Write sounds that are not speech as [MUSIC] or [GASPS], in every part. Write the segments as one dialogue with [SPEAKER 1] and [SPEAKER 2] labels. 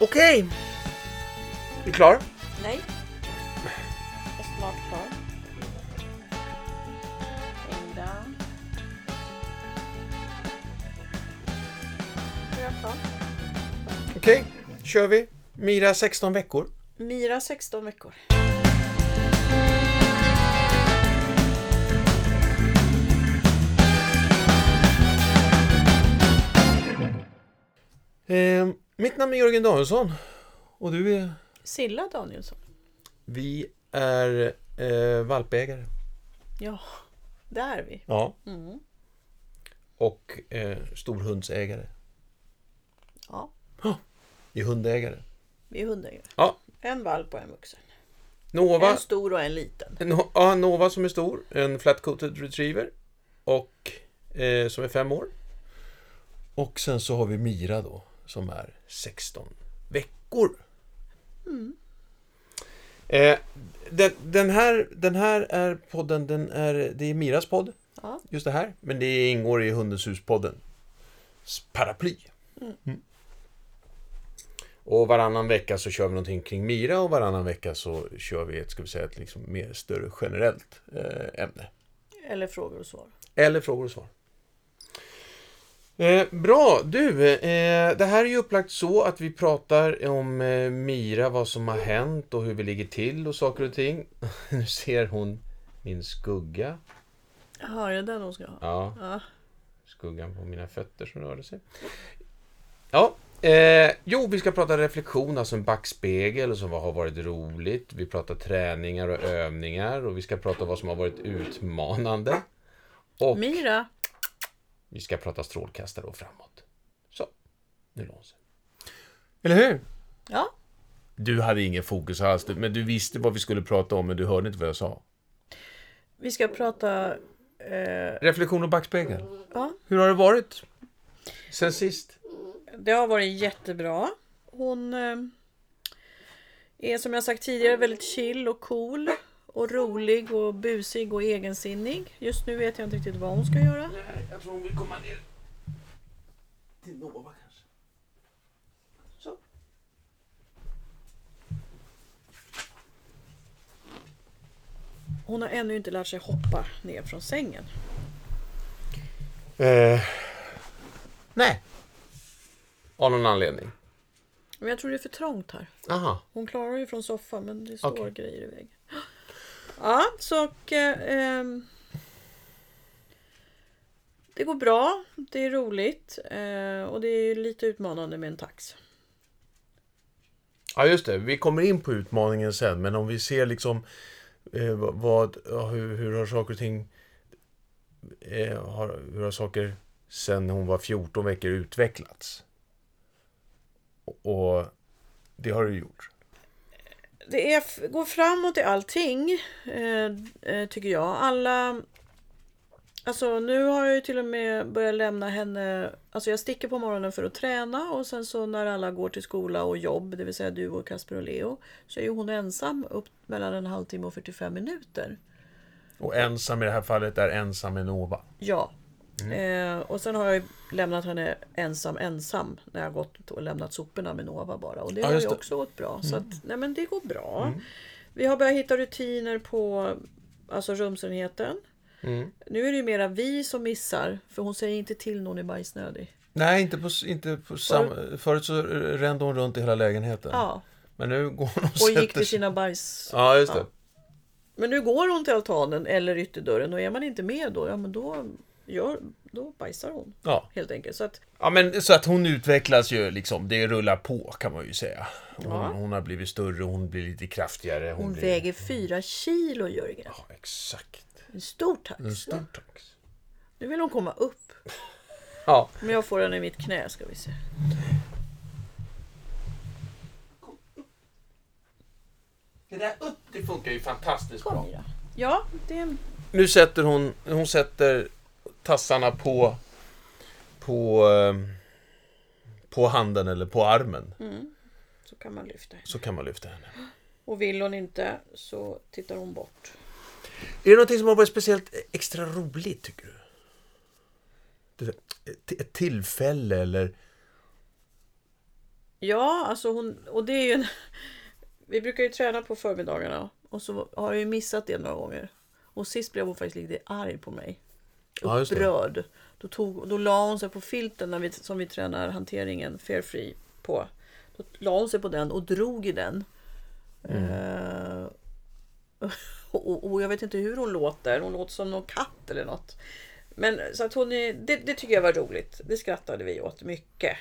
[SPEAKER 1] Okej. Är du klar?
[SPEAKER 2] [LAUGHS] Nej. Jag är snart klar. Ända. Nu är jag klar.
[SPEAKER 1] Okej, kör vi. Mira 16 veckor.
[SPEAKER 2] Mira 16 veckor.
[SPEAKER 1] Eh, mitt namn är Jörgen Danielsson. Och du är?
[SPEAKER 2] Silla Danielsson.
[SPEAKER 1] Vi är eh, valpägare.
[SPEAKER 2] Ja, där är vi.
[SPEAKER 1] Ja.
[SPEAKER 2] Mm.
[SPEAKER 1] Och eh, storhundsägare.
[SPEAKER 2] Ja,
[SPEAKER 1] Vi är hundägare.
[SPEAKER 2] vi är hundägare.
[SPEAKER 1] Ja.
[SPEAKER 2] En valp och en vuxen.
[SPEAKER 1] Nova,
[SPEAKER 2] En stor och en liten.
[SPEAKER 1] no, ja, Nova som är stor. En flat-coated retriever. Och eh, som är fem år. Och sen så har vi Mira då. Som är 16 veckor. Eh, den, den, här, den här är podden, den är, det är Miras podd.
[SPEAKER 2] Ja.
[SPEAKER 1] Just det här. Men det ingår i Hundens hus-podden. S- Paraply. Mm. Och varannan vecka så kör vi någonting kring Mira och varannan vecka så kör vi ett, ska vi säga, ett liksom mer större generellt eh, ämne.
[SPEAKER 2] Eller frågor och svar.
[SPEAKER 1] Eller frågor och svar. Eh, bra, du. Eh, det här är ju upplagt så att vi pratar om eh, Mira, vad som har hänt och hur vi ligger till och saker och ting. [LAUGHS] nu ser hon min skugga.
[SPEAKER 2] Jaha, är det den hon ska ha?
[SPEAKER 1] Ja,
[SPEAKER 2] Ja.
[SPEAKER 1] skuggan på mina fötter som rörde sig. Ja, eh, jo, vi ska prata reflektion, alltså en backspegel, och som vad har varit roligt. Vi pratar träningar och övningar och vi ska prata vad som har varit utmanande. Och
[SPEAKER 2] Mira.
[SPEAKER 1] vi ska prata strålkastare och framåt. Så, nu låser Eller hur?
[SPEAKER 2] Ja.
[SPEAKER 1] Du hade ingen fokus alls, du- men du visste vad vi skulle prata om, men du hörde inte vad jag sa.
[SPEAKER 2] Vi ska prata... Eh,
[SPEAKER 1] Reflektion och backspegel.
[SPEAKER 2] ja.
[SPEAKER 1] Hur har det varit? Sen sist?
[SPEAKER 2] Det har varit jättebra. Hon eh, är som jag sagt tidigare väldigt chill och cool. Och rolig och busig och egensinnig. Just nu vet jag inte riktigt vad hon ska göra.
[SPEAKER 1] Jag tror hon vill komma ner till Nova kanske. Så.
[SPEAKER 2] Hon har ännu inte lärt sig hoppa ner från sängen.
[SPEAKER 1] Eh. Nej. Av någon anledning.
[SPEAKER 2] Men jag tror det är för trångt här.
[SPEAKER 1] Aha.
[SPEAKER 2] Hon klarar ju från soffan men det står
[SPEAKER 1] Okej.
[SPEAKER 2] grejer i vägen. [GASPS] Ja, så och, eh, ehm, Det går bra. Det är roligt. Eh, och det är lite utmanande med en tax.
[SPEAKER 1] Ja just det, vi kommer in på utmaningen sen men om vi ser liksom eh, vad- vad, ja, hur, hur har saker och ting eh, har, hur har saker sen hon var 14 veckor utvecklats? Och, och det har det ju gjort.
[SPEAKER 2] det är, f- går framåt i allting, eh, eh, tycker jag. Alla... Alltså nu har jag ju till och med börjat lämna henne... Alltså jag sticker på morgonen för att träna och sen så när alla går till skola och jobb, det vill säga du och Kasper och Leo, så är ju hon ensam upp mellan en halvtimme och 45 minuter.
[SPEAKER 1] Och ensam i det här fallet är ensam med Nova.
[SPEAKER 2] Ja.
[SPEAKER 1] Mm.
[SPEAKER 2] Eh, och sen har jag ju lämnat henne ensam ensam när jag gått och lämnat soporna med Nova bara. Och det
[SPEAKER 1] Ja,
[SPEAKER 2] har
[SPEAKER 1] just
[SPEAKER 2] ju
[SPEAKER 1] det. Mm.
[SPEAKER 2] också gått bra. Så att, nej men det går bra. Vi har börjat hitta rutiner på alltså rumsenheten.
[SPEAKER 1] Mm.
[SPEAKER 2] Nu är det ju mera vi som missar. För hon säger inte till när hon är
[SPEAKER 1] Mm.
[SPEAKER 2] bajsnödig.
[SPEAKER 1] Nej, inte på, inte på samma... Förut så rände hon runt i hela lägenheten.
[SPEAKER 2] Ja.
[SPEAKER 1] Men nu går hon och
[SPEAKER 2] Och gick till
[SPEAKER 1] sig-
[SPEAKER 2] sina bajs...
[SPEAKER 1] Ja, just det.
[SPEAKER 2] Men nu går hon till altanen eller ytterdörren. Och är man inte med då, ja men då, gör, då bajsar hon.
[SPEAKER 1] Ja.
[SPEAKER 2] Helt enkelt. Så att
[SPEAKER 1] ja, men så att hon utvecklas ju liksom. Det rullar på kan man ju säga. Hon,
[SPEAKER 2] Ja.
[SPEAKER 1] hon har blivit större, hon blir lite kraftigare. Hon,
[SPEAKER 2] hon
[SPEAKER 1] blir...
[SPEAKER 2] väger fyra kilo Jörgen.
[SPEAKER 1] Ja, exakt.
[SPEAKER 2] En stor tax.
[SPEAKER 1] En stor tax.
[SPEAKER 2] Nu vill hon komma upp.
[SPEAKER 1] Ja.
[SPEAKER 2] Om jag får den i mitt knä ska vi se.
[SPEAKER 1] Det där upp, det funkar ju fantastiskt
[SPEAKER 2] Kom Mira. Ja, det är...
[SPEAKER 1] Nu sätter hon, hon sätter tassarna på, på, eh, på handen eller på armen.
[SPEAKER 2] Mm. så kan man lyfta henne.
[SPEAKER 1] Så kan man lyfta henne.
[SPEAKER 2] Och vill hon inte så tittar hon bort.
[SPEAKER 1] Är det någonting som har varit speciellt extra roligt tycker du? du vet, ett- ett tillfälle eller...
[SPEAKER 2] Ja, alltså hon, och det är ju en, [LAUGHS] Vi brukar ju träna på förmiddagarna och så har jag ju missat det några gånger. Och sist blev hon faktiskt lite arg på mig.
[SPEAKER 1] Ja, just det.
[SPEAKER 2] Upprörd. Då, tog, då la hon sig på filten när vi, som vi tränar hanteringen Fair Free på. Då la hon sig på den och drog i den.
[SPEAKER 1] Mm.
[SPEAKER 2] Eh, [LAUGHS] och, och jag vet inte hur hon låter. Hon låter som någon katt eller något. Men så att hon är, det, det tycker jag var roligt. Det skrattade vi åt mycket.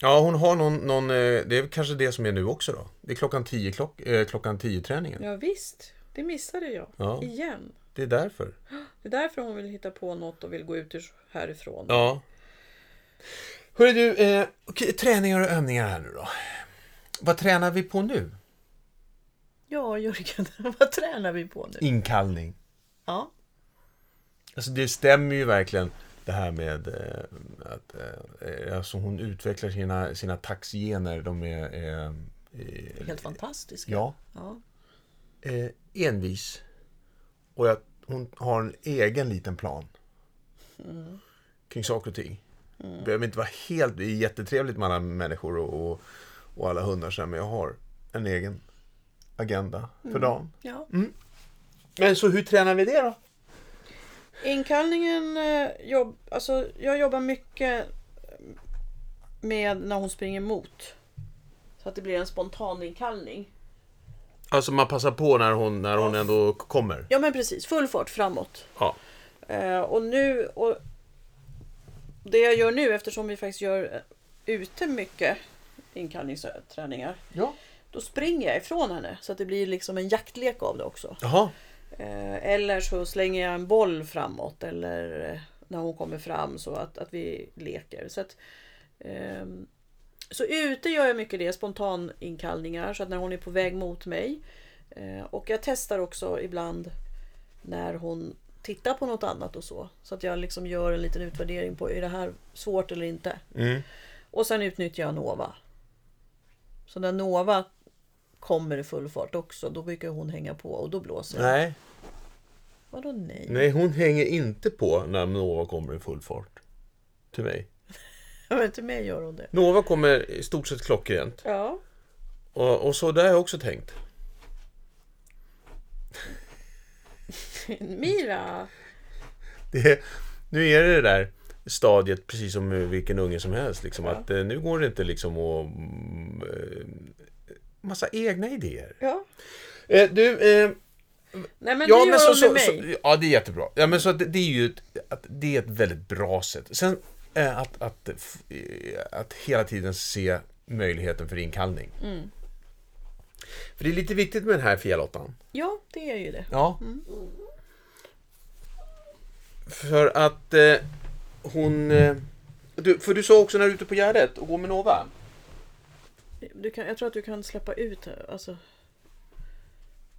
[SPEAKER 1] Ja, hon har någon, någon eh, det är kanske det som är nu också då. Det är klockan 10 klock, eh, klockan 10 träningen.
[SPEAKER 2] Ja visst, det missade jag.
[SPEAKER 1] Ja.
[SPEAKER 2] Igen.
[SPEAKER 1] Det är därför.
[SPEAKER 2] Det är därför hon vill hitta på något och vill gå ut ur- härifrån.
[SPEAKER 1] Ja. Hörru du, eh, okej, träningar och övningar här nu då. Vad tränar vi på nu?
[SPEAKER 2] Ja, Jörgen, [LAUGHS] vad tränar vi på nu?
[SPEAKER 1] Inkallning.
[SPEAKER 2] Ja,
[SPEAKER 1] Alltså det stämmer ju verkligen det här med eh, att eh, eh, alltså hon utvecklar sina, sina taxgener. De är... Eh, eh,
[SPEAKER 2] helt fantastiskt.
[SPEAKER 1] ja,
[SPEAKER 2] Ja.
[SPEAKER 1] eh, envis. Och att hon har en egen liten plan. Kring saker och ting. Behöver inte vara helt... Det är jättetrevligt med alla människor och, och, och alla hundar så här, men jag har en egen agenda för dagen.
[SPEAKER 2] ja.
[SPEAKER 1] Men så hur tränar vi det då?
[SPEAKER 2] Inkallningen, eh, jobb, alltså jag jobbar mycket med när hon springer mot. Så att det blir en spontan inkallning.
[SPEAKER 1] Alltså man passar på när hon, när hon ändå kommer.
[SPEAKER 2] Ja men precis, full fart framåt.
[SPEAKER 1] Ja.
[SPEAKER 2] Eh, och nu, och det jag gör nu eftersom vi faktiskt gör eh, ute mycket inkallningsträningar.
[SPEAKER 1] ja.
[SPEAKER 2] Då springer jag ifrån henne så att det blir liksom en jaktlek av det också.
[SPEAKER 1] Jaha.
[SPEAKER 2] Eh, eller så slänger jag en boll framåt eller eh, när hon kommer fram så att, att vi leker. Så, att, ehm, så ute gör jag mycket det, spontan inkallningar så att när hon är på väg mot mig. Eh, och jag testar också ibland när hon tittar på något annat och så. Så att jag liksom gör en liten utvärdering på är det här svårt eller inte.
[SPEAKER 1] Mm.
[SPEAKER 2] Och sen utnyttjar jag Nova. Så när Nova kommer i full fart också, då brukar hon hänga på och då blåser jag.
[SPEAKER 1] Nej.
[SPEAKER 2] Vadå nej?
[SPEAKER 1] Nej, hon hänger inte på när Nova kommer i full fart. Till mig.
[SPEAKER 2] Ja, men till mig gör hon det.
[SPEAKER 1] Nova kommer i stort sett klockrent.
[SPEAKER 2] Ja.
[SPEAKER 1] Och, och så där har jag också tänkt.
[SPEAKER 2] Mira!
[SPEAKER 1] Det, nu är det det där stadiet precis som med vilken unge som helst. Liksom,
[SPEAKER 2] Ja.
[SPEAKER 1] att, eh, nu går det inte liksom att... mm, eh, Massa egna idéer.
[SPEAKER 2] Ja.
[SPEAKER 1] Eh, du, eh,
[SPEAKER 2] Nej men
[SPEAKER 1] ja,
[SPEAKER 2] det gör
[SPEAKER 1] men
[SPEAKER 2] hon
[SPEAKER 1] så,
[SPEAKER 2] med
[SPEAKER 1] så,
[SPEAKER 2] mig.
[SPEAKER 1] så, ja, det är jättebra. Ja, men så att det, det är ju ett, att det är ett väldigt bra sätt. Sen eh, att, att, f- eh, att hela tiden se möjligheten för inkallning.
[SPEAKER 2] Mm.
[SPEAKER 1] För det är lite viktigt med den här fjällåttan.
[SPEAKER 2] Ja, det är ju det.
[SPEAKER 1] Ja. För att eh, hon... Eh, du, för du sa också när du är ute på Gärdet och går med Nova.
[SPEAKER 2] Du kan, jag tror att du kan släppa ut här. Alltså,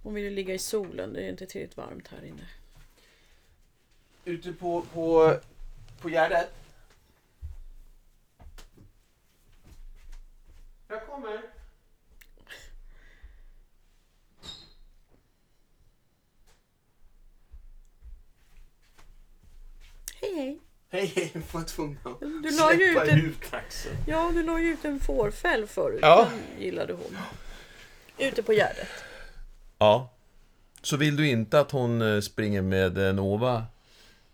[SPEAKER 2] hon vill ju ligga i solen. Det är inte tillräckligt varmt här inne.
[SPEAKER 1] Ute på, på, på Gärdet. Jag kommer.
[SPEAKER 2] Hej hej!
[SPEAKER 1] Hej, hej, jag var tvungen att
[SPEAKER 2] Du la ju ut en,
[SPEAKER 1] ut axeln.
[SPEAKER 2] ja, du la ju ut en fårfäll förut.
[SPEAKER 1] Ja.
[SPEAKER 2] Den gillade hon. Ute på Gärdet.
[SPEAKER 1] Ja. Så vill du inte att hon eh, springer med eh, Nova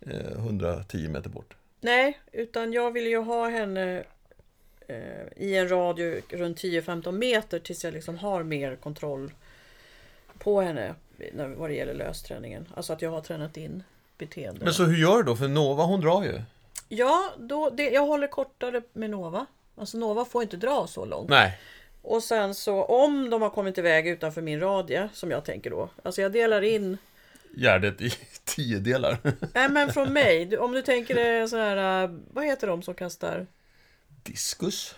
[SPEAKER 1] eh, 110 meter bort?
[SPEAKER 2] Nej, utan jag vill ju ha henne eh, i en radio runt 10-15 meter tills jag liksom har mer kontroll på henne när, vad det gäller lösträningen. Alltså att jag har tränat in beteende.
[SPEAKER 1] Men så hur gör du då? För Nova hon drar ju.
[SPEAKER 2] Ja, då, det, jag håller kortare med Nova. Alltså Nova får inte dra så långt.
[SPEAKER 1] Nej.
[SPEAKER 2] Och sen så om de har kommit iväg utanför min radie, som jag tänker då. Alltså jag delar in
[SPEAKER 1] Gärdet i [LAUGHS] tio delar.
[SPEAKER 2] Nej
[SPEAKER 1] [LAUGHS]
[SPEAKER 2] men från mig. Du, om du tänker dig så här, eh, vad heter de som kastar?
[SPEAKER 1] Diskus.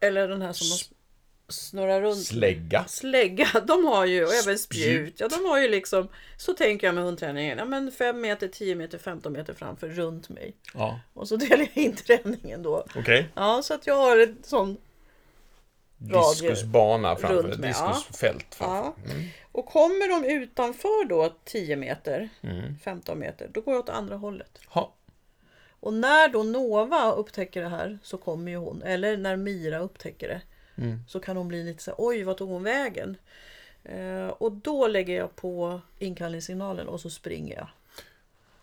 [SPEAKER 2] Eller den här som de snurrar runt.
[SPEAKER 1] Slägga.
[SPEAKER 2] Slägga, [LAUGHS] de har ju, och även
[SPEAKER 1] Spjut.
[SPEAKER 2] spjut. Ja, de har ju liksom, så tänker jag med hundträningen. Ja, men 5 meter, 10 meter, 15 meter framför, runt mig.
[SPEAKER 1] Ja,
[SPEAKER 2] Och så [LAUGHS] delar jag in träningen då.
[SPEAKER 1] okej.
[SPEAKER 2] Ja, så att jag har ett sånt. Radio.
[SPEAKER 1] Diskusbana framför.
[SPEAKER 2] Runt med,
[SPEAKER 1] Diskusfält framför.
[SPEAKER 2] Ja. Och kommer de
[SPEAKER 1] Mm.
[SPEAKER 2] utanför då 10 meter, 15 meter, då går jag åt andra hållet.
[SPEAKER 1] Ja.
[SPEAKER 2] Och när då Nova upptäcker det här så kommer ju hon, eller när Mira upptäcker det,
[SPEAKER 1] Mm.
[SPEAKER 2] så kan hon bli lite så här, oj vad tog hon vägen? Eh, och då lägger jag på inkallningssignalen och så springer jag.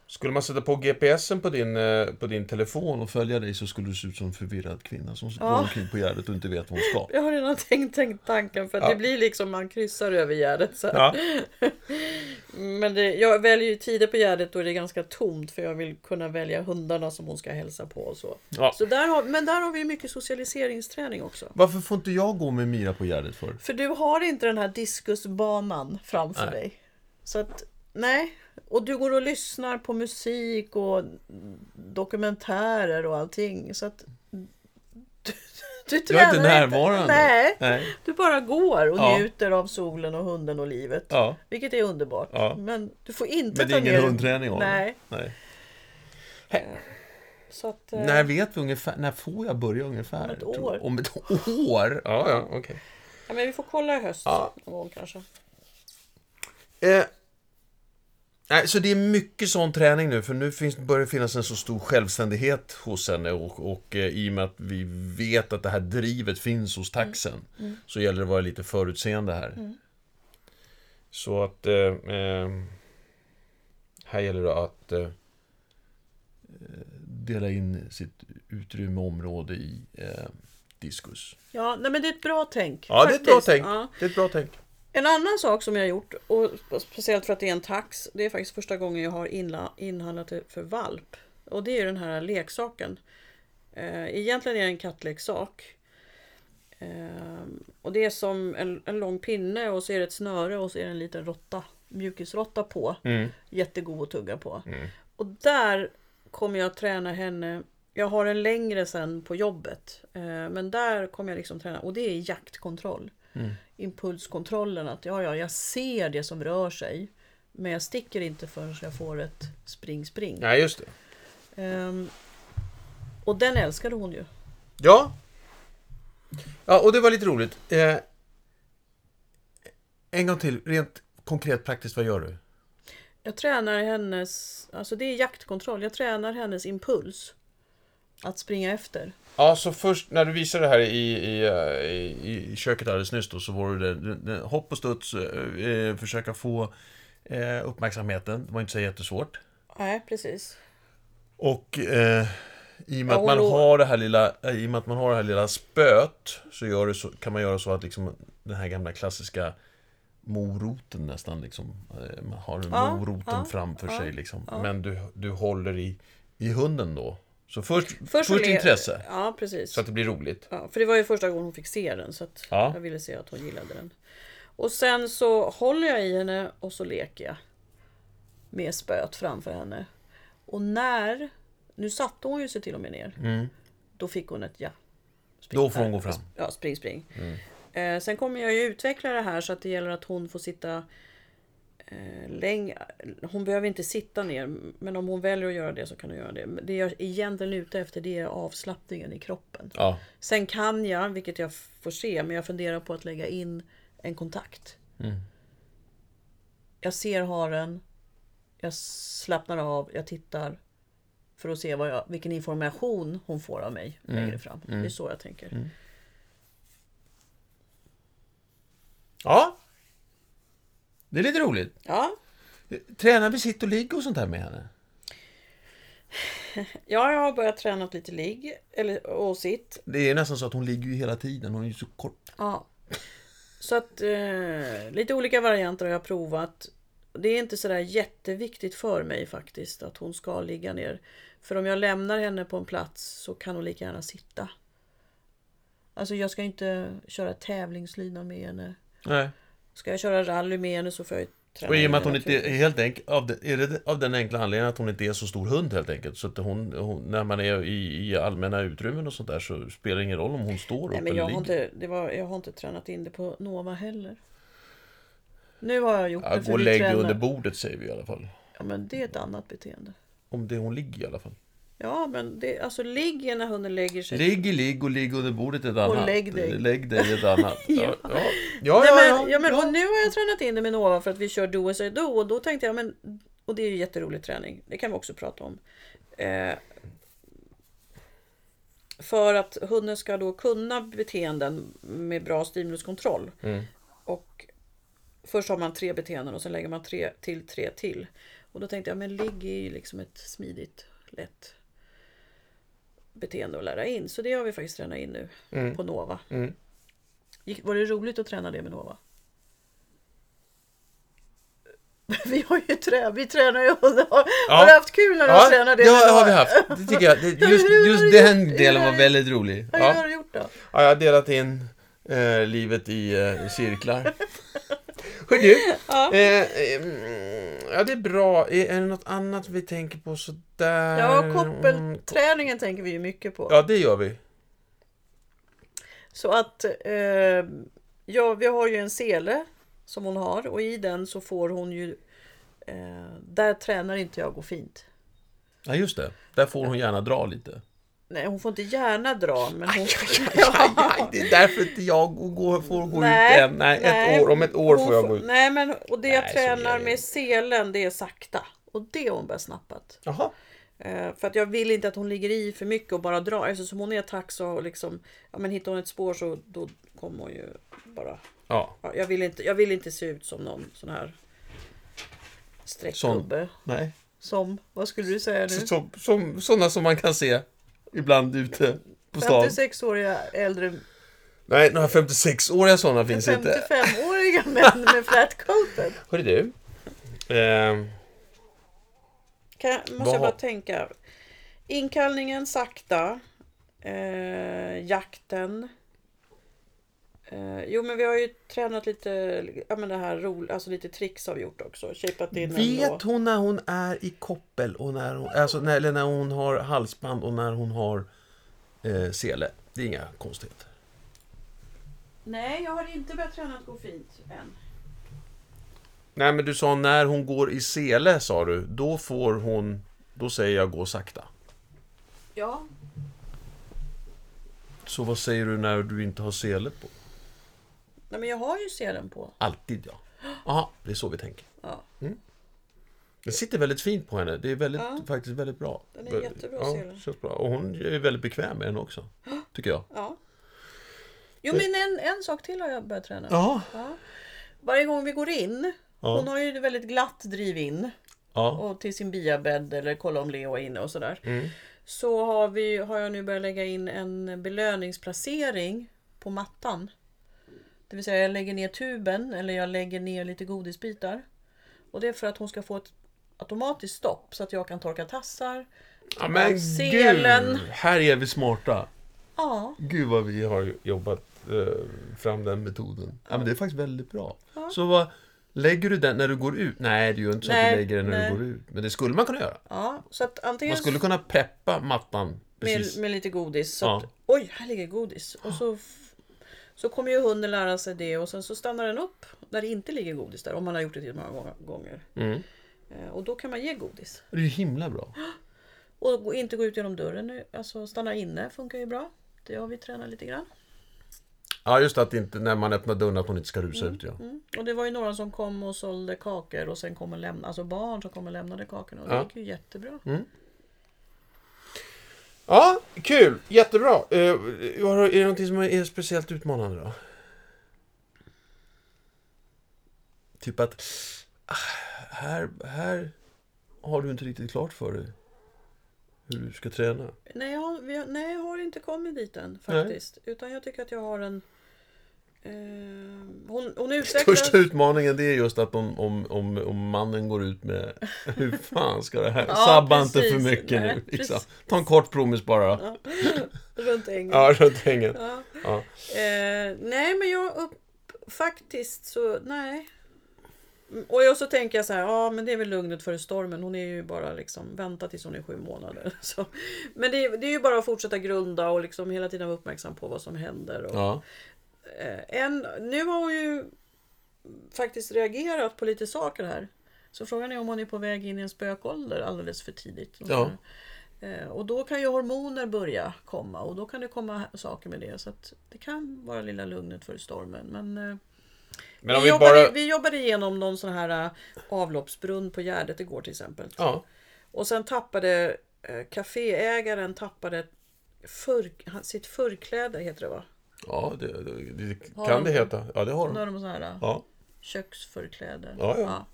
[SPEAKER 1] Skulle man sätta på GPSen på din, eh, på din telefon och följa dig så skulle du se ut som en förvirrad kvinna som går omkring på Gärdet och inte vet vad hon
[SPEAKER 2] [LAUGHS]
[SPEAKER 1] ska.
[SPEAKER 2] Jag har redan tänkt, tänkt tanken för att
[SPEAKER 1] Ja.
[SPEAKER 2] det blir liksom man kryssar över gärdet. Så här.
[SPEAKER 1] Ja.
[SPEAKER 2] Men det, jag väljer ju tider på gärdet då det är ganska tomt för jag vill kunna välja hundarna som hon ska hälsa på och så.
[SPEAKER 1] Ja.
[SPEAKER 2] så där har, men där har vi ju mycket socialiseringsträning också.
[SPEAKER 1] Varför får inte jag gå med Mira på Gärdet för?
[SPEAKER 2] För du har inte den här diskusbanan framför
[SPEAKER 1] Nej.
[SPEAKER 2] dig. Så att, nej. Och du går och lyssnar på musik och dokumentärer och allting. Så att du, du
[SPEAKER 1] Jag är
[SPEAKER 2] tränar
[SPEAKER 1] inte närvarande.
[SPEAKER 2] Nej,
[SPEAKER 1] Nej.
[SPEAKER 2] du bara går och
[SPEAKER 1] Ja.
[SPEAKER 2] njuter av solen och hunden och livet.
[SPEAKER 1] Ja.
[SPEAKER 2] Vilket är underbart.
[SPEAKER 1] Ja.
[SPEAKER 2] Men du får inte
[SPEAKER 1] Men det
[SPEAKER 2] ta
[SPEAKER 1] är ingen
[SPEAKER 2] ner...
[SPEAKER 1] hundträning av
[SPEAKER 2] Nej.
[SPEAKER 1] det. Nej.
[SPEAKER 2] Så att, eh,
[SPEAKER 1] När vet vi ungefär, när får jag börja ungefär?
[SPEAKER 2] Om ett
[SPEAKER 1] tror
[SPEAKER 2] år.
[SPEAKER 1] jag? Om ett [LAUGHS] år? Ja, ja, okej.
[SPEAKER 2] ja, men vi får kolla i höst
[SPEAKER 1] Ja.
[SPEAKER 2] någon gång kanske.
[SPEAKER 1] Eh, nej, så det är mycket sån träning nu, för nu finns, börjar det finnas en så stor självständighet hos henne och, och eh, i och med att vi vet att det här drivet finns hos taxen
[SPEAKER 2] Mm.
[SPEAKER 1] så gäller det att vara lite förutseende här. Så att eh, eh, här gäller det att eh, eh, dela in sitt utrymme och område i eh, diskus.
[SPEAKER 2] Ja, nej, men det är ett bra tänk.
[SPEAKER 1] Ja, det är ett bra
[SPEAKER 2] faktiskt.
[SPEAKER 1] tänk.
[SPEAKER 2] Ja.
[SPEAKER 1] Det är ett bra tänk.
[SPEAKER 2] En annan sak som jag har gjort, och speciellt för att det är en tax, det är faktiskt första gången jag har inla, inhandlat det för valp. Och det är ju den här leksaken. Eh, egentligen är det en kattleksak. Eh, och det är som en, en lång pinne och så är det ett snöre och så är det en liten råtta, mjukisråtta på. Jättegod att tugga på. Och där kommer jag träna henne. Jag har en längre sen på jobbet. Eh, men där kommer jag liksom träna. Och det är jaktkontroll impulskontrollen att ja, ja, jag ser det som rör sig. Men jag sticker inte förrän jag får ett spring, spring.
[SPEAKER 1] Nej, just det.
[SPEAKER 2] Ehm, och den älskade hon ju.
[SPEAKER 1] Ja. Ja, och det var lite roligt. Eh, en gång till, rent konkret praktiskt, vad gör du?
[SPEAKER 2] Jag tränar hennes, alltså det är jaktkontroll, jag tränar hennes impuls. Att springa efter.
[SPEAKER 1] Ja, så först när du visade det här i, i, eh, i, i köket alldeles nyss då, så var det, det, det hopp och studs, eh, försöka få eh, uppmärksamheten. Det var inte så jättesvårt.
[SPEAKER 2] Nej, precis.
[SPEAKER 1] Och eh, i, och med
[SPEAKER 2] Ja,
[SPEAKER 1] att man
[SPEAKER 2] och då-
[SPEAKER 1] har det här lilla, eh, i och med att man har det här lilla spöet så, gör det så kan man göra så att liksom, den här gamla klassiska moroten nästan liksom, eh, man har
[SPEAKER 2] Ja,
[SPEAKER 1] moroten
[SPEAKER 2] ja,
[SPEAKER 1] framför
[SPEAKER 2] ja,
[SPEAKER 1] sig liksom.
[SPEAKER 2] ja.
[SPEAKER 1] Men du, du håller i, i hunden då. Så först, först,
[SPEAKER 2] Först så le-
[SPEAKER 1] intresse,
[SPEAKER 2] Ja, precis.
[SPEAKER 1] så att det blir roligt.
[SPEAKER 2] Ja, för det var ju första gången hon fick se den så att
[SPEAKER 1] Ja.
[SPEAKER 2] jag ville se att hon gillade den. Och sen så håller jag i henne och så leker jag. Med spöet framför henne. Och när, nu satte hon ju sig till och med ner. Då fick hon ett ja. Spring,
[SPEAKER 1] Mm. Då får hon
[SPEAKER 2] här.
[SPEAKER 1] gå fram. Mm.
[SPEAKER 2] Ja, spring spring. Eh, sen kommer jag ju utveckla det här så att det gäller att hon får sitta eh, länge. Hon behöver inte sitta ner men om hon väljer att göra det så kan hon göra det. Men det jag egentligen är ute efter det är avslappningen i kroppen.
[SPEAKER 1] Ja,
[SPEAKER 2] Sen kan jag, vilket jag får se, men jag funderar på att lägga in en kontakt. Jag ser haren, jag slappnar av, jag tittar för att se vad jag, vilken information hon får av mig längre fram. Det är så jag tänker.
[SPEAKER 1] ja. Det är lite roligt.
[SPEAKER 2] Ja,
[SPEAKER 1] Tränar vi sitt och ligg och sånt här med henne?
[SPEAKER 2] ja, jag har börjat träna lite ligg eller, och sitt.
[SPEAKER 1] Det är nästan så att hon ligger ju hela tiden, hon är ju så kort.
[SPEAKER 2] Ja. Så att eh, lite olika varianter har jag provat. Det är inte sådär jätteviktigt för mig faktiskt att hon ska ligga ner. För om jag lämnar henne på en plats så kan hon lika gärna sitta. Alltså jag ska inte köra tävlingslina med henne.
[SPEAKER 1] Nej.
[SPEAKER 2] Ska jag köra rally med henne så får jag ju träna
[SPEAKER 1] Och i och med
[SPEAKER 2] henne
[SPEAKER 1] att hon inte är
[SPEAKER 2] naturligt.
[SPEAKER 1] helt enkelt, av, den- är det av den enkla anledningen att hon inte är så stor hund helt enkelt. Så att hon, hon, när man är i, i allmänna utrymmen och sånt där så spelar det ingen roll om hon står
[SPEAKER 2] Nej
[SPEAKER 1] upp
[SPEAKER 2] men jag
[SPEAKER 1] eller
[SPEAKER 2] har,
[SPEAKER 1] ligger.
[SPEAKER 2] inte, det var, jag har inte tränat in det på Nova heller. Nu har jag gjort
[SPEAKER 1] Ja,
[SPEAKER 2] det
[SPEAKER 1] gå
[SPEAKER 2] för
[SPEAKER 1] och
[SPEAKER 2] vi
[SPEAKER 1] lägg dig
[SPEAKER 2] tränar.
[SPEAKER 1] under bordet säger vi i alla fall.
[SPEAKER 2] Ja men det är ett annat beteende.
[SPEAKER 1] Om det hon ligger i alla fall.
[SPEAKER 2] Ja men det, alltså ligger när hunden lägger sig.
[SPEAKER 1] Ligg i ligg och ligg under bordet är ett annat.
[SPEAKER 2] lägg dig.
[SPEAKER 1] Lägg dig är ett
[SPEAKER 2] [LAUGHS]
[SPEAKER 1] annat. ja, ja, ja,
[SPEAKER 2] Nej,
[SPEAKER 1] ja,
[SPEAKER 2] men, ja,
[SPEAKER 1] ja,
[SPEAKER 2] men, och nu har jag tränat in det med Nova för att vi kör Do as I do och då tänkte jag, men, och det är ju jätterolig träning, det kan vi också prata om. Eh, För att hunden ska då kunna beteenden med bra stimuluskontroll.
[SPEAKER 3] Mm.
[SPEAKER 2] Och först har man tre beteenden och sen lägger man tre till tre till. Och då tänkte jag, men ligg är ju liksom ett smidigt, lätt beteende att lära in. Så det har vi faktiskt tränat in nu
[SPEAKER 3] Mm.
[SPEAKER 2] på Nova.
[SPEAKER 3] Mm.
[SPEAKER 2] Gick- Var det roligt att träna det med Nova? [LAUGHS] Vi har ju trä, vi tränar ju [LAUGHS] och har, har du haft kul när du har tränat det?
[SPEAKER 1] ja,
[SPEAKER 2] med
[SPEAKER 1] det har
[SPEAKER 2] Nova?
[SPEAKER 1] vi haft. Det tycker jag. Det, just
[SPEAKER 2] hur har [LAUGHS]
[SPEAKER 1] just
[SPEAKER 2] du
[SPEAKER 1] den
[SPEAKER 2] gjort?
[SPEAKER 1] delen
[SPEAKER 2] Hur
[SPEAKER 1] var
[SPEAKER 2] har-
[SPEAKER 1] väldigt rolig.
[SPEAKER 2] [LAUGHS] Ja, hur har
[SPEAKER 1] Ja.
[SPEAKER 2] du gjort då?
[SPEAKER 1] Ja, jag har delat in eh, livet i eh, cirklar. Hör du,
[SPEAKER 2] Ja.
[SPEAKER 1] eh, eh, mm, ja det är bra. Eh, Är, är det något annat vi tänker på sådär?
[SPEAKER 2] Ja,
[SPEAKER 1] Mm,
[SPEAKER 2] koppelträningen tänker vi ju mycket på.
[SPEAKER 1] Ja, det gör vi.
[SPEAKER 2] Så att, eh, ja, vi har ju en sele som hon har och i den så får hon ju, eh, där tränar inte jag gå fint.
[SPEAKER 1] Ja, just det. Där får hon gärna dra lite.
[SPEAKER 2] Nej, hon får inte gärna dra, men hon...
[SPEAKER 1] [LAUGHS] Aj,
[SPEAKER 2] [LAUGHS]
[SPEAKER 1] aj, det är därför inte jag går- går, får gå
[SPEAKER 2] Nej,
[SPEAKER 1] ut än. Nej,
[SPEAKER 2] nej.
[SPEAKER 1] ett år. Om ett år
[SPEAKER 2] Hon
[SPEAKER 1] får jag gå ut.
[SPEAKER 2] Nej, men och det jag
[SPEAKER 1] Nej, så
[SPEAKER 2] tränar
[SPEAKER 1] gör jag
[SPEAKER 2] med selen, det är sakta. Och det har hon börjat snappat.
[SPEAKER 1] Jaha.
[SPEAKER 2] Eh, för att jag vill inte att hon ligger i för mycket och bara drar. Eftersom hon är tax och liksom, ja men hittar hon ett spår så då kommer hon ju bara...
[SPEAKER 1] Ja,
[SPEAKER 2] Ja, jag, vill inte, jag vill inte se ut som någon sån här streckgubbe.
[SPEAKER 1] nej.
[SPEAKER 2] Som, vad skulle du säga nu?
[SPEAKER 1] Så- Som, som, sådana som man kan se ibland ute på stan.
[SPEAKER 2] 56-åriga äldre,
[SPEAKER 1] Nej, några 56-åriga sådana finns inte.
[SPEAKER 2] 55-åriga män med flatcoatet.
[SPEAKER 1] Hörru du. Ehm,
[SPEAKER 2] Kan, jag- måste
[SPEAKER 1] Vad
[SPEAKER 2] jag
[SPEAKER 1] har-
[SPEAKER 2] bara tänka. Inkallningen sakta. Eh, jakten. Eh, jo men vi har ju tränat lite, ja men det här roligt, alltså lite tricks har vi gjort också. Shapat in en låt.
[SPEAKER 1] vet hon när hon är i koppel och när hon, alltså när, eller när hon har halsband och när hon har eh, sele? Det är inga konstigheter.
[SPEAKER 2] Nej jag har inte börjat träna att gå fint än.
[SPEAKER 1] Nej, men du sa när hon går i sele, sa du. Då får hon, då säger jag gå sakta.
[SPEAKER 2] Ja.
[SPEAKER 1] Så vad säger du när du inte har sele på?
[SPEAKER 2] Nej men jag har ju selen på.
[SPEAKER 1] Alltid ja. Aha, det är så vi tänker.
[SPEAKER 2] Ja,
[SPEAKER 1] Den sitter väldigt fint på henne. Det är väldigt,
[SPEAKER 2] Ja.
[SPEAKER 1] faktiskt väldigt bra.
[SPEAKER 2] Den är jättebra,
[SPEAKER 1] ja,
[SPEAKER 2] ser du.
[SPEAKER 1] känns bra. Och hon är väldigt bekväm med den också. Tycker jag.
[SPEAKER 2] ja. Jo men en, en sak till har jag börjat träna.
[SPEAKER 1] Ja.
[SPEAKER 2] Ja. Varje gång vi går in.
[SPEAKER 1] Ja.
[SPEAKER 2] Hon har ju väldigt glatt driv in.
[SPEAKER 1] ja.
[SPEAKER 2] och till sin biabädd eller kolla om Leo är inne och sådär.
[SPEAKER 1] Mm.
[SPEAKER 2] Så har, vi, har jag nu börjat lägga in en belöningsplacering på mattan. Det vill säga jag lägger ner tuben eller jag lägger ner lite godisbitar. Och det är för att hon ska få ett automatiskt stopp så att jag kan torka tassar.
[SPEAKER 1] ja men
[SPEAKER 2] Selen.
[SPEAKER 1] gud! Här är vi smarta.
[SPEAKER 2] Ja,
[SPEAKER 1] Gud vad vi har jobbat eh, fram den metoden. Ja, men det är faktiskt väldigt bra. Så vad, lägger du den när du går ut? Nej, det är ju inte så att
[SPEAKER 2] Nej,
[SPEAKER 1] du lägger den när
[SPEAKER 2] nej.
[SPEAKER 1] du går ut. Men det skulle man kunna göra.
[SPEAKER 2] ja. så att antingen
[SPEAKER 1] Man skulle kunna preppa mattan.
[SPEAKER 2] med,
[SPEAKER 1] Precis.
[SPEAKER 2] med lite godis. Så
[SPEAKER 1] Ja.
[SPEAKER 2] att, oj, här ligger godis. Och så, f- så kommer ju hunden lära sig det och sen så stannar den upp när det inte ligger godis där. Om man har gjort det till många gånger- gånger.
[SPEAKER 1] Mm.
[SPEAKER 2] Eh, Och då kan man ge godis.
[SPEAKER 1] Det är ju himla
[SPEAKER 2] [GASPS]
[SPEAKER 1] bra.
[SPEAKER 2] Och gå- inte gå ut genom dörren. nu. Alltså stanna inne funkar ju bra. Det har vi tränat lite grann.
[SPEAKER 1] Ja, just att inte, när man öppnar dörren att man inte ska rusa ut. Ja.
[SPEAKER 2] Mm. Och det var ju några som kom och sålde kakor och sen kom och lämnade, alltså barn som kom och lämnade kakorna. Och det
[SPEAKER 1] Ja.
[SPEAKER 2] gick ju jättebra.
[SPEAKER 1] Ja, kul! Jättebra! Eh, har- är det någonting som är speciellt utmanande då? Typ att ah, här, här har du inte riktigt klart för dig hur du ska träna.
[SPEAKER 2] Nej, jag har, vi har, nej, jag har inte kommit dit än faktiskt. Utan jag tycker att jag har en... Eh, hon, hon utvecklas...
[SPEAKER 1] Första utmaningen det är just att om, om, om, om mannen går ut med [LAUGHS] hur fan ska det här?
[SPEAKER 2] Ja,
[SPEAKER 1] Sabba inte för
[SPEAKER 2] precis.
[SPEAKER 1] mycket
[SPEAKER 2] Nej,
[SPEAKER 1] nu. Liksom.
[SPEAKER 2] precis.
[SPEAKER 1] Ta en kort promis bara.
[SPEAKER 2] Ja, runt ängen.
[SPEAKER 1] [LAUGHS] Ja, runt hängen.
[SPEAKER 2] Ja.
[SPEAKER 1] Ja.
[SPEAKER 2] Eh, nej men jag upp, faktiskt så nej. Mm, Och jag så tänker jag så här, ja men det är väl lugnet före stormen. Hon är ju bara liksom, vänta tills hon är sju månader. [LAUGHS] Så. Men det, är- det är ju bara att fortsätta grunda och liksom hela tiden vara uppmärksam på vad som händer. Och,
[SPEAKER 1] Ja.
[SPEAKER 2] eh, en, nu har hon ju faktiskt reagerat på lite saker här. Så frågan är om hon är på väg in i en spökålder alldeles för tidigt. Och, så
[SPEAKER 1] Ja.
[SPEAKER 2] här. Eh, och då kan ju hormoner börja komma och då kan det komma saker med det. Så att det kan vara lilla lugnet för stormen. Men, eh,
[SPEAKER 1] Men
[SPEAKER 2] vi, jobbade, vi jobbade igenom någon sån här eh, avloppsbrunn på Gärdet igår till exempel.
[SPEAKER 1] Ja.
[SPEAKER 2] Och sen tappade eh, kaféägaren tappade för, han- sitt förkläde, heter det va?
[SPEAKER 1] Ja, det, det, det
[SPEAKER 2] Har
[SPEAKER 1] kan
[SPEAKER 2] de
[SPEAKER 1] det
[SPEAKER 2] det?
[SPEAKER 1] heta. Ja, det har
[SPEAKER 2] Nu
[SPEAKER 1] de.
[SPEAKER 2] har de sån här eh,
[SPEAKER 1] Ja,
[SPEAKER 2] köksförkläde.
[SPEAKER 1] Ja, ja.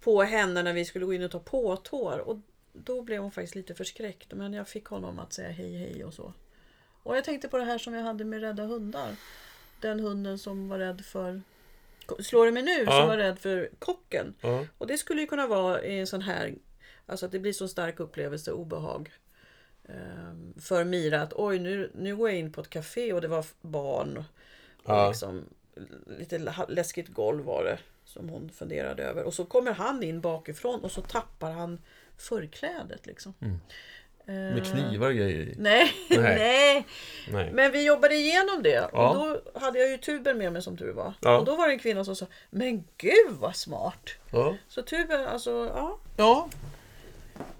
[SPEAKER 2] På henne när vi skulle gå in och ta påtår. Och då blev hon faktiskt lite förskräckt. Men jag fick honom att säga hej hej och så. Och jag tänkte på det här som jag hade med rädda hundar. Den hunden som var rädd för Slår det mig nu
[SPEAKER 1] Ja.
[SPEAKER 2] som var rädd för kocken.
[SPEAKER 1] ja.
[SPEAKER 2] Och det skulle ju kunna vara i en sån här Alltså att det blir så stark upplevelse, obehag. ehm, För Mira att oj nu, nu går jag in på ett café och det var f- barn. Och
[SPEAKER 1] Ja.
[SPEAKER 2] liksom, lite la- läskigt golv var det som hon funderade över. Och så kommer han in bakifrån och så tappar han förklädet. Liksom.
[SPEAKER 1] Mm.
[SPEAKER 2] Ehm,
[SPEAKER 1] Med knivar och grejer i.
[SPEAKER 2] Nej,
[SPEAKER 1] Nej.
[SPEAKER 2] [LAUGHS] nej.
[SPEAKER 1] Nej.
[SPEAKER 2] men vi jobbade igenom det.
[SPEAKER 1] Ja.
[SPEAKER 2] Och då hade jag ju tuben med mig som tur var.
[SPEAKER 1] Ja.
[SPEAKER 2] Och då var det en kvinna som sa Men gud vad smart!
[SPEAKER 1] Ja.
[SPEAKER 2] Så tuben, alltså ja.
[SPEAKER 1] Ja.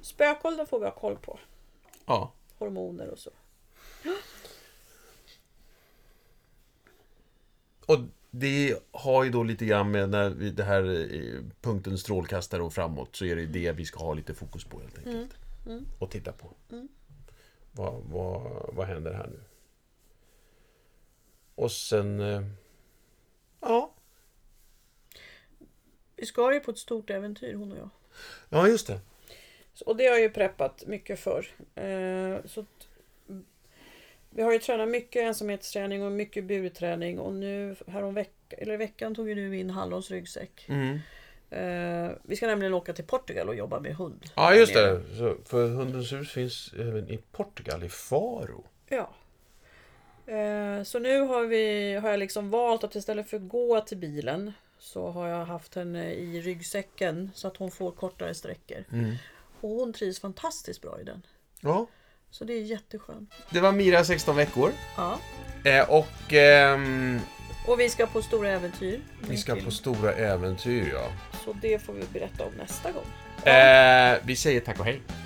[SPEAKER 2] Spökåldern får vi ha koll på.
[SPEAKER 1] ja.
[SPEAKER 2] Hormoner och så.
[SPEAKER 1] Och det har ju då lite grann med när vi, det här eh, punkten strålkastare och framåt så är det det vi ska ha lite fokus på helt enkelt. Och titta på. Vad, vad, vad händer här nu? Och sen... eh, Ja,
[SPEAKER 2] Vi ska ju på ett stort äventyr hon och jag.
[SPEAKER 1] ja just det.
[SPEAKER 2] Så- Och det har jag ju preppat mycket för. Eh, så att, mm, vi har ju tränat mycket ensamhetsträning och mycket burträning och nu härom veck- eller i veckan tog ju du in Hallons ryggsäck.
[SPEAKER 1] Mm.
[SPEAKER 2] Eh, vi ska nämligen åka till Portugal och jobba med hund.
[SPEAKER 1] Ja, just
[SPEAKER 2] där nere.
[SPEAKER 1] det. Så, för Hundens hus finns även i Portugal, i Faro.
[SPEAKER 2] Ja. Eh, Så nu har, vi, har jag liksom valt att istället för att gå till bilen så har jag haft henne i ryggsäcken så att hon får kortare sträckor.
[SPEAKER 1] Mm.
[SPEAKER 2] Och hon trivs fantastiskt bra i den.
[SPEAKER 1] Ja.
[SPEAKER 2] Så det är jätteskönt.
[SPEAKER 1] Det var Mira 16 veckor.
[SPEAKER 2] Ja.
[SPEAKER 1] Eh, och ehm,
[SPEAKER 2] Och vi ska på stora äventyr.
[SPEAKER 1] vi ska på stora äventyr ja.
[SPEAKER 2] Så det får vi berätta om nästa gång.
[SPEAKER 1] Eh, vi säger tack och hej.